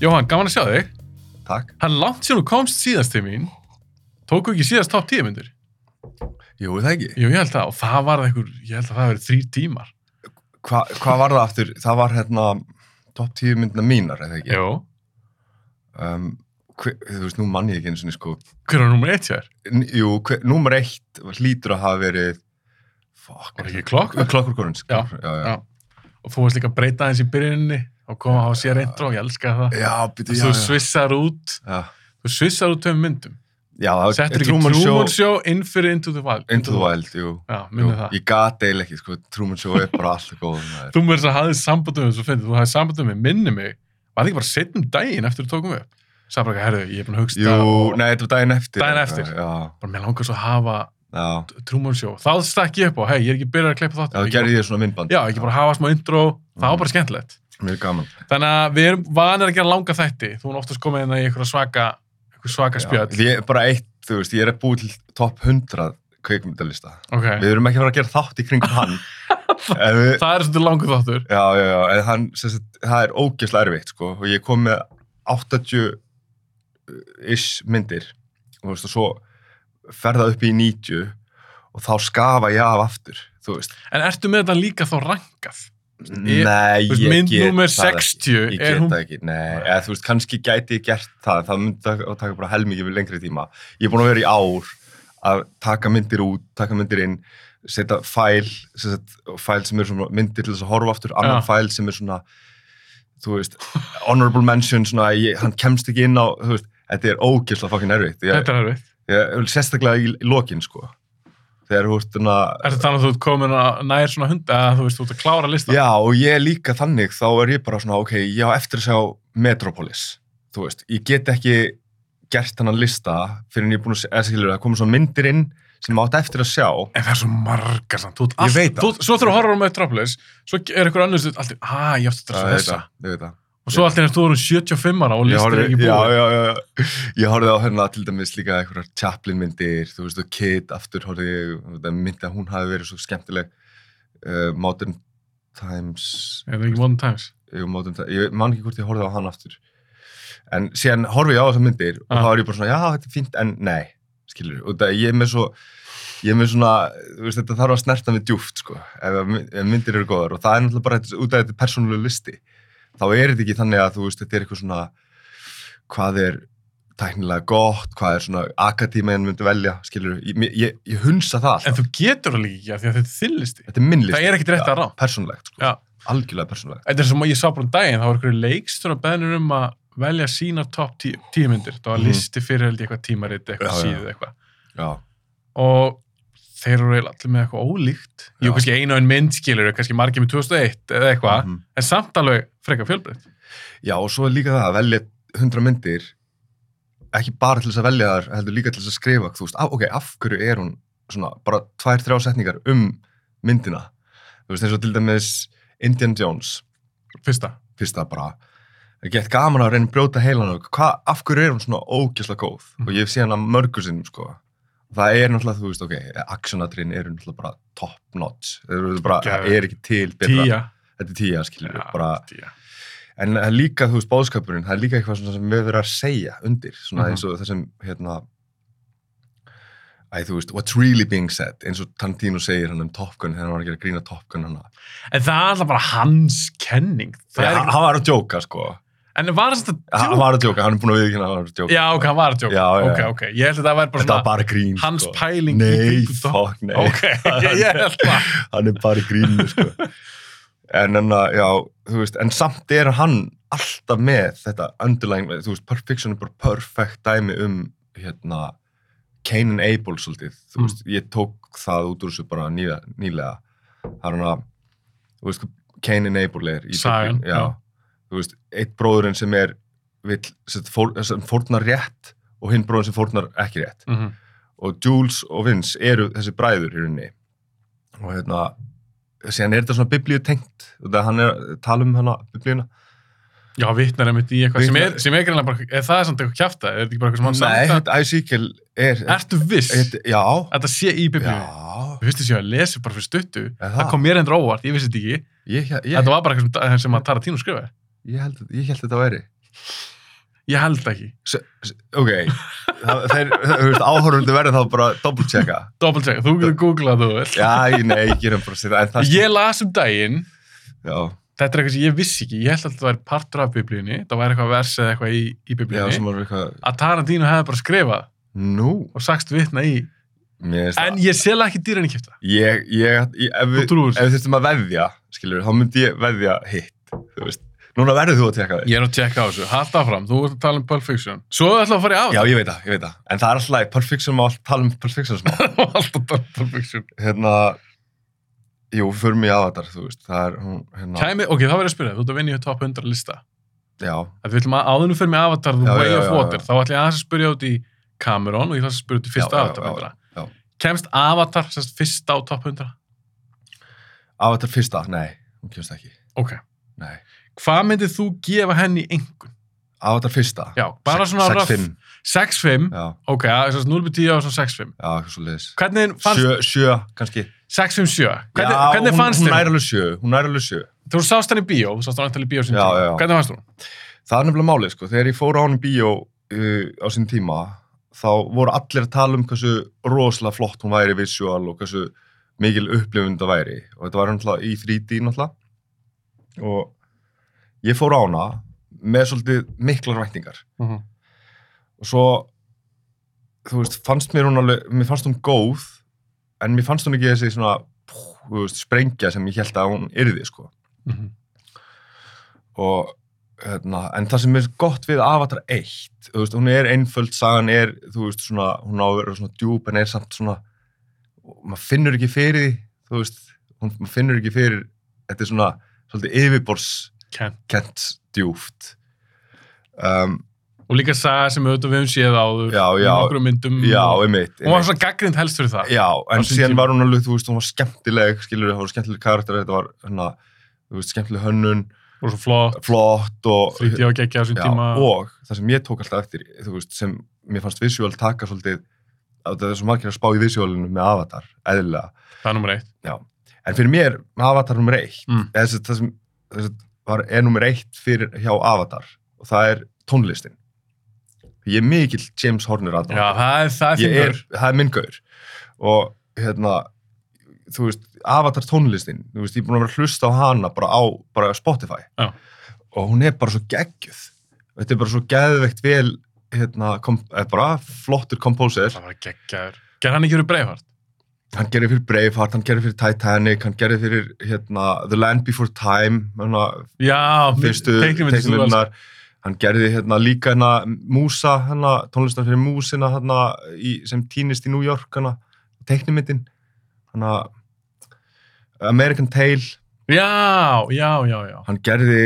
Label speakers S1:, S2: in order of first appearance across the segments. S1: Jóhann, gaman að sjá þig.
S2: Takk.
S1: Það er langt síðan þú komst síðast til mín. Tóku ekki síðast topp tíu myndir.
S2: Jú, er það ekki.
S1: Jú, ég held það. Og það var einhver, ég held að það verið þrý tímar.
S2: Hva, hvað var það aftur? Það var hérna topp tíu myndina mínar, eða ekki?
S1: Jú.
S2: Um, hver, þú veist, nú mann ég ekki einu sinni sko.
S1: Hver var nummer eitt hjá þér?
S2: N jú, hver, númer eitt hlýtur að hafa verið... Fuck. Uh,
S1: Var ekki Clockwork?
S2: Klokkurkorins.
S1: Já.
S2: já, já.
S1: Já. Og þú varst líka að breyta aðeins í byrjuninni og koma á sér intro. Ég elska það.
S2: Já, býtu, já,
S1: Þú
S2: já.
S1: svissar út,
S2: Já,
S1: þú svissar út tveim myndum.
S2: já það var
S1: Settir ekki Truman Show, inn fyrir Into the Wild.
S2: Into the Wild, jú.
S1: Já,
S2: jú.
S1: minni það.
S2: Ég gat eiginlega ekki, sko, Truman Show er bara alltaf góð. maður.
S1: Þú mér þess að hafið sambandum með um þessu fyndið, þú hafið sambandum með minni mig, var það ekki bara setnum daginn eftir þú tókum við? Sæði bara ekki, herðu, ég er búin að hugsta
S2: Jú,
S1: og
S2: nei, þetta var daginn eftir.
S1: Daginn eftir.
S2: Já,
S1: bara mér langar svo að hafa
S2: já.
S1: Truman Show. Þá stakk ég upp á, hei, ég er ekki byrjar að klippa
S2: Já, þú
S1: þáttum.
S2: gerði ég Mm. svona myndband.
S1: Já, ekki bara hafa smá intro, það var bara skemmtilegt.
S2: Mjög gaman.
S1: Þannig að við erum vanir að gera langa þætti, þú er oftast komið inn í einhverja svaka, einhver svaka spjöld.
S2: Já, ég er bara eitt, þú veist, ég er búið til topp 100 kveikmyndalista.
S1: Ok,
S2: Við erum ekki að fara að gera þátt í kringum hann. en við,
S1: það er svolítið langur þáttur.
S2: já, já, já, en hann, sem sagt, það er ógeðslega erfitt, sko, og ég kom með 80-ish myndir, og þú veist, og svo fer það upp í 90 og þá skafa ég af aftur, þú veist.
S1: En ertu með þetta líka þá rankað? Ég- Þú
S2: Nei,
S1: veist,
S2: ég
S1: mynd
S2: get
S1: nummer
S2: það ekki.
S1: 60,
S2: Ég
S1: er
S2: get
S1: hún...
S2: það ekki, nei, eða þú veist, kannski gæti ég gert það, það myndi taka- að taka bara helmingi við lengri tíma. Ég er búin að vera í ár að taka myndir út, taka myndir inn, setja fæl, sem sagt, fæl sem er svona myndir til þess að horfa aftur, annan
S1: Já.
S2: fæl sem er svona, þú veist, honorable mention, svona, ég, hann kemst ekki inn á, þú veist, þetta er ógeðslega fucking erfitt. Ég,
S1: Þetta er erfitt.
S2: ég, sérstaklega í, í lokin, sko, þegar þú ert, þannig
S1: Er þetta þannig að þú ert komin að nær svona hunda að þú veist, þú ert að klára listan?
S2: Já, og ég er líka þannig, þá er ég bara svona, ok, ég á eftir að sjá Metropolis, þú veist, ég get ekki gert hennan lista fyrir en ég er búin að, eða skilur, það komið svona myndir inn sem átt eftir að sjá.
S1: En það er svo margar samt, þú ert
S2: Ég veit það.
S1: þú, Svo þegar þú horfður á með Metropolis, svo er ykkur annars alltaf, að Ah, ég átti þetta
S2: Já,
S1: að
S2: ég veit
S1: þessa
S2: það, ég veit það.
S1: og svo alltaf er þú erum 75 ára og
S2: Ég
S1: listir
S2: horfði,
S1: ekki
S2: já,
S1: búið
S2: já, já, já, ég horfði á hérna til dæmis líka einhverjar Chaplin myndir, þú veist, og Kid aftur horfði ég, þetta myndi að hún hafi verið svo skemmtileg, uh, Modern Times,
S1: Er það ekki Modern Times?
S2: ég, mátum, ég man ekki hvort ég horfði á hann aftur en síðan horfi ég á þessar myndir og
S1: Ah.
S2: þá er ég bara svona, já, þetta er fínt, en nei skilur, og það, ég er með svo ég er með svona, þú veist, þetta þarf að snerta mig djúft, sko, ef, að my- ef myndir eru góðar og það er náttúrulega bara þetta- út af þetta er persónulegu listi þá er þetta ekki þannig að þú veist, þetta er eitthvað svona hvað er tæknilega gott, hvað er svona akadímaðin myndi velja, skilur, ég, ég, ég hunsa það
S1: En
S2: alltaf,
S1: þú getur það líka ekki af því að þetta er þinn listi
S2: þetta er minn listi
S1: Það er ekkit rétt að rá
S2: persónulegt, sko,
S1: Já.
S2: algjörlega persónulegt
S1: Þetta er sem ég sá bara um daginn, þá var ykkur leikstur að beðnir um að velja sína topp tí- tíu myndir Það var
S2: Mhm.
S1: listi fyrir held ég eitthvað tímarit, eitthvað
S2: Já, já.
S1: síðu eitthvað
S2: já,
S1: og þeir eru eiginlega allir með eitthvað ólíkt Jú,
S2: Já.
S1: kannski einu en mynd skilur, kannski margir með 2001 eða eitthvað,
S2: Mhm.
S1: en samt alveg frekar fjölbreytt.
S2: Já, og svo er líka það að velja 100 myndir, ekki bara til þess að velja þar, heldur líka til þess að skrifa, þú veist, af, ok, af hverju er hún svona, bara tvær, þrjá setningar um myndina, þú veist, eins og til dæmis Indian Jones,
S1: Fyrsta.
S2: fyrsta bara, það er gett gaman að reyna að brjóta heilan og hvað, af hverju er hún svona ógæslega góð,
S1: Mhm.
S2: og ég hef séð hana mörgur sinnum, sko, það er náttúrulega, þú veist, ok, actionatrin eru náttúrulega bara top notch, það eru bara,
S1: Geðveikt.
S2: er ekki til betra,
S1: Tía.
S2: þetta er tíja, skilur,
S1: Já,
S2: bara,
S1: tía.
S2: En það er líka, þú veist, bóðskapurinn, það er líka eitthvað svona sem við verðum að segja undir, svona
S1: Mhm.
S2: eins og það sem, hérna, æ, þú veist, what's really being said, eins og Tarantino segir hann um Top Gun, þegar hann var að gera grína Top Gun hann.
S1: En það er alltaf bara hans kenning. Það
S2: Ja,
S1: er
S2: hann,
S1: ekki...
S2: hann var að djóka, sko.
S1: En var þetta
S2: Hann
S1: djók?
S2: var að djóka, hann er búin að viðkynna að hann var að djóka.
S1: Já, ok, hann var að djók.
S2: Já, já,
S1: Ok,
S2: já.
S1: ok. Ég held að það væri bara
S2: Þetta var
S1: svona
S2: bara grín,
S1: hans
S2: sko.
S1: pæling. í
S2: Nei,
S1: kringum það.
S2: fuck, nei.
S1: Ok, ég, ég held það.
S2: hann er bara í grínu sko. en en að, já, þú veist en samt er hann alltaf með þetta underlying, þú veist, perfection er bara perfect dæmi um hérna, Cain and Abel svolítið, þú
S1: Mm.
S2: veist, ég tók það út úr þessu bara nýja, nýlega það er hann að, þú veist, hvað Cain and Abel er í
S1: Sagan,
S2: bókinni,
S1: já.
S2: já, þú veist, eitt bróðurinn sem er vill, sem, fór, sem fórnar rétt og hinn bróðurinn sem fórnar ekki rétt
S1: Mm
S2: og Jules og Vince eru þessi bræður í rauninni og hérna síðan er þetta svona biblíu tengt þegar hann er að tala um hana biblíuna
S1: Já, vittnar einmitt í eitthvað sem er,
S2: Vitnar-
S1: sem er greinlega bara, er það samt eitthvað kjafta? Er þetta ekki bara eitthvað sem hann
S2: Nei,
S1: samt?
S2: þetta Æsíkel er
S1: Ertu viss?
S2: þetta, Já,
S1: að Þetta sé í biblíu.
S2: já
S1: Þú veist þess að ég að lesa bara fyrir stuttu.
S2: Er
S1: Það kom mér endur óvart, ég vissi þetta ekki.
S2: ég, ég,
S1: Þetta var bara eitthvað sem, sem að Tarantino skrifaði.
S2: ég, held, ég held þetta væri
S1: Ég held ekki.
S2: S- s- ok, það, þeir, þú veist, áhorfundi verður þá bara að double checka.
S1: Double check, þú getur googlað þú vel.
S2: Já, ég- nei, ég gerum bara sér það, en það
S1: Ég las um daginn,
S2: já,
S1: þetta er eitthvað sem ég vissi ekki, ég held að þetta væri partur af biblíunni, það væri eitthvað vers eða eitthvað í, í
S2: já,
S1: biblíunni,
S2: sem var eitthvað,
S1: að Tarantino hefði bara skrifað
S2: nú,
S1: og sagst vitna í.
S2: mér finnst
S1: En
S2: það.
S1: ég sel ekki dýran í kipta.
S2: Ég, ég, ég, ef
S1: Þú
S2: við,
S1: trúir
S2: ef við þurftum að veðja, skilur, þá myndi ég veðja hitt, þú veist. Núna verður þú að tekka þig.
S1: Ég er að tjekka á þessu, halda áfram, þú ert að tala um Pulp Fiction. Svo ætlaðu að fara í
S2: Já,
S1: af.
S2: ég veit það, ég veit það. En það er alltaf, í Pulp Fiction má alltaf tala um Pulp Fiction smá.
S1: alltaf tala um Pulp Fiction.
S2: hérna, jú, förum í avatar, þú veist, það er, hún, hérna,
S1: Kæmi, ok, þá verður ég að spyrja, þú ert að vinna í top 100 lista.
S2: já,
S1: Að við viljum að áðunum fyrir mig Avatar The
S2: Já,
S1: Way
S2: já,
S1: of
S2: já,
S1: Water,
S2: já.
S1: þá ætla ég aðeins að spyrja út í Cameron og ég ætla að spyrja út í fyrsta
S2: Já, já,
S1: Avatar
S2: já, já.
S1: myndina. Kemst Avatar sérst fyrst á top 100?
S2: avatar fyrsta, nei, hún kemst ekki,
S1: Ok.
S2: nei.
S1: Hvað myndið þú gefa henni einhvern?
S2: Avatar fyrsta,
S1: Já, bara
S2: Sex-
S1: svona
S2: sex,
S1: rough-
S2: fimm.
S1: 6-5,
S2: já,
S1: ok, sérst 0-10 og svona 6-5.
S2: já, eitthvað svo leiðis.
S1: Hvernig fannst,
S2: Sjö, sjö, kannski.
S1: 6-5-7, hvernig,
S2: já,
S1: hvernig
S2: hún,
S1: fannst
S2: hún
S1: þér?
S2: nær alveg sjö, hún nær alveg sjö.
S1: Þú sást henni í bíó, þú sást henni eftir í bíó sinni
S2: Já, já,
S1: tíma.
S2: já.
S1: Hvernig fannst hún?
S2: Það er nefnilega málið, sko. Þegar ég fór á hann í bíó uh, á sín tíma, þá voru allir að tala um hversu rosalega flott hún væri visual og hversu mikil upplifun það væri. Og þetta var náttúrulega í 3D náttúrulega. Og ég fór á hana með svolítið miklar væntingar. Og svo, þú veist, fannst mér hún alveg, mér fannst hún góð, en mér fannst hún ekki þessi svona, pú, þú veist, sprengja sem ég held að hún yrði, sko.
S1: Mhm.
S2: og hérna, en það sem er gott við Avatar 1, þú veist, hún er einföld sagan er, þú veist, svona hún á að vera svona djúp en er samt svona og maður finnur ekki fyrir því, þú veist, hún, maður finnur ekki fyrir þetta er svona, svolítið yfirborskent
S1: Ken.
S2: djúft um,
S1: Og líka saga sem auðvitað við höfum séð áður.
S2: Já,
S1: í
S2: já.
S1: nokkrum myndum.
S2: já,
S1: og-
S2: einmitt,
S1: Mm. Hún var
S2: einmitt.
S1: svona gaggrind helst fyrir það.
S2: já,
S1: á
S2: en
S1: sínum
S2: síðan
S1: tíma.
S2: var hún alveg, þú veist, hún var skemmtileg skilur, það voru skemmtileg karakter, þetta var hérna, þú veist, skemmtileg hönnun,
S1: Og svo flott,
S2: flott og
S1: 30 og geggja á sín
S2: Já,
S1: tíma.
S2: og það sem ég tók alltaf eftir, þú veist, sem mér fannst visuál taka svolítið, að það er svo margir að spá í visuálinu með Avatar, eðlilega.
S1: Það er nummer eitt.
S2: En fyrir mér, Avatar nummer eitt,
S1: Mm.
S2: eða þess að það sem þess að var, er nummer eitt fyrir hjá Avatar, og það er tónlistin. Ég er mikill James Horner aðná.
S1: Já, það er, það er
S2: Ég
S1: þinn
S2: er,
S1: gaur.
S2: það er minn gaur og hérna þú veist, Avatar tónlistin þú veist, ég er búin að vera að hlusta á hana bara á bara á Spotify
S1: Já.
S2: og hún er bara svo geggjöð þetta er bara svo geðveikt vel hérna, kom, eh, bara flottur kompóser
S1: Það var geggjaður. Gerð hann ekki verið breyfart?
S2: hann gerir fyrir Braveheart, hann gerir fyrir Titanic hann gerir fyrir hérna, The Land Before Time hana,
S1: Já,
S2: fyrstu
S1: teiknimyndir sem þú elskar.
S2: teiknumyndunar hann gerði hérna líka hérna Músa hérna, tónlistan fyrir Músina hérna í, sem týnist í New York hérna, teiknumyndin hérna American Tale
S1: Já, já, já, já.
S2: hann gerði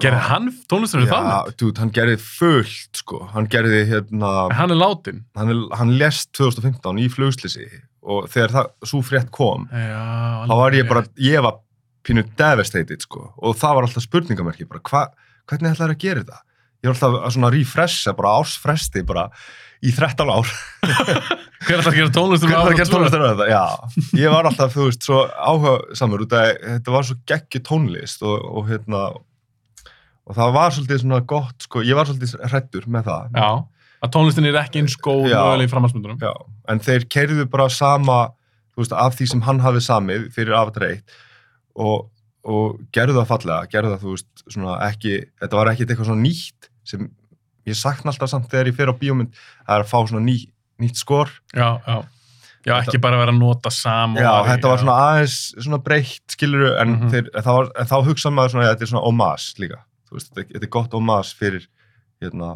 S1: Gerði hann tónlistunum það? mynd?
S2: Já, dude, hann gerði fullt sko hann gerði hérna
S1: En hann er látin.
S2: hann, er- hann lest 2015 í flugslissi og þegar það, svo frétt kom
S1: Já,
S2: þá var ég bara, ég var pínu devastated sko og það var alltaf spurningamerki bara hva, hvernig ætlaður að gera þetta? Ég var alltaf að svona refresha bara ásfresti bara í 13 ár.
S1: Hver ætlar að gera tónlistunum?
S2: Hvernig ætlaður að gera tónlist þetta? Já, ég var alltaf, þú veist, svo áhuga samur út að þetta var svo geggju tónlist og, og hérna og það var svolítið svona gott sko, ég var svolítið hrættur með það.
S1: Já, að tónlistin er ekki eins góð
S2: Já.
S1: mögulega í framhaldsmyndunum.
S2: Já, en þeir keirðu bara sama þú veist, af því sem hann hafði samið fyrir Avatar 1 og, og gerðu það fallega, gerðu það þú veist, svona ekki, þetta var ekkit eitthvað svona nýtt sem ég sakna alltaf samt þegar ég fer á bíómynd, það er að fá svona ný, nýtt skor.
S1: Já, já. Já, ekki bara vera að nota sama.
S2: Já,
S1: og-
S2: þetta var svona aðeins svona breytt, skiluru, en,
S1: Mhm.
S2: þeir, en, það var, en þá hugsa maður svona, ja, þetta er svona homage líka, þú veist, þetta, þetta er gott homage fyrir, hérna,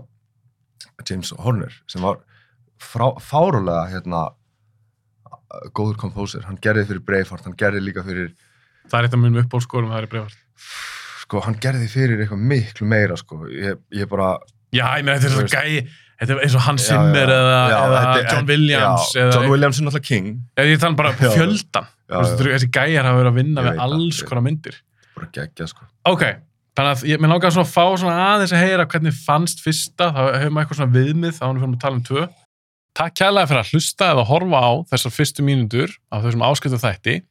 S2: James Horner, sem var frá, fárulega, hérna, góður kompósir, hann gerði fyrir Braveheart, hann gerði líka fyrir,
S1: Það er eitt af mínum uppbólskorum, það er breyfart.
S2: sko, hann gerði fyrir eitthvað miklu meira, sko, ég, ég bara,
S1: Já, ég meina, þetta er
S2: Þú
S1: svo
S2: veist.
S1: gæi, þetta er eins og Hans
S2: Já,
S1: Zimmer
S2: já.
S1: eða,
S2: Já,
S1: eða
S2: þetta er-
S1: John Williams
S2: já,
S1: eða,
S2: John Williams er náttúrulega king,
S1: eða ég tala bara
S2: Já.
S1: fjöldan
S2: já,
S1: Þú veist,
S2: já,
S1: þú- þessi gæjar hafa verið að vinna
S2: Ég
S1: við
S2: veit það,
S1: alls
S2: ég-
S1: konar myndir
S2: bara geggja, sko.
S1: ok, þannig að ég, mér langar svona að fá svona aðeins að heyra hvernig fannst fyrsta þá hefur maður eitthvað svona viðmið þá hann fyrir að tala um tvö Takk kærlega fyrir að hlusta eða horfa á þessar fyrstu mínundur á þessum áskiptu þætti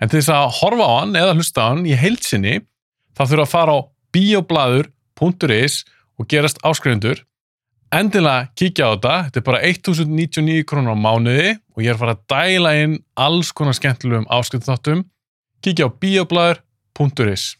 S1: en til þess að horfa á hann eða hlusta á hann í heilsinni þá þurfa að fara á bioblaður.is og gerast áskrifundur endilega kíkja á þetta, þetta er bara 1099 krónur á mánuði og ég er að fara að dæla inn alls konar skemmtilegum áskriftarþáttum kíkja á bioblæður.is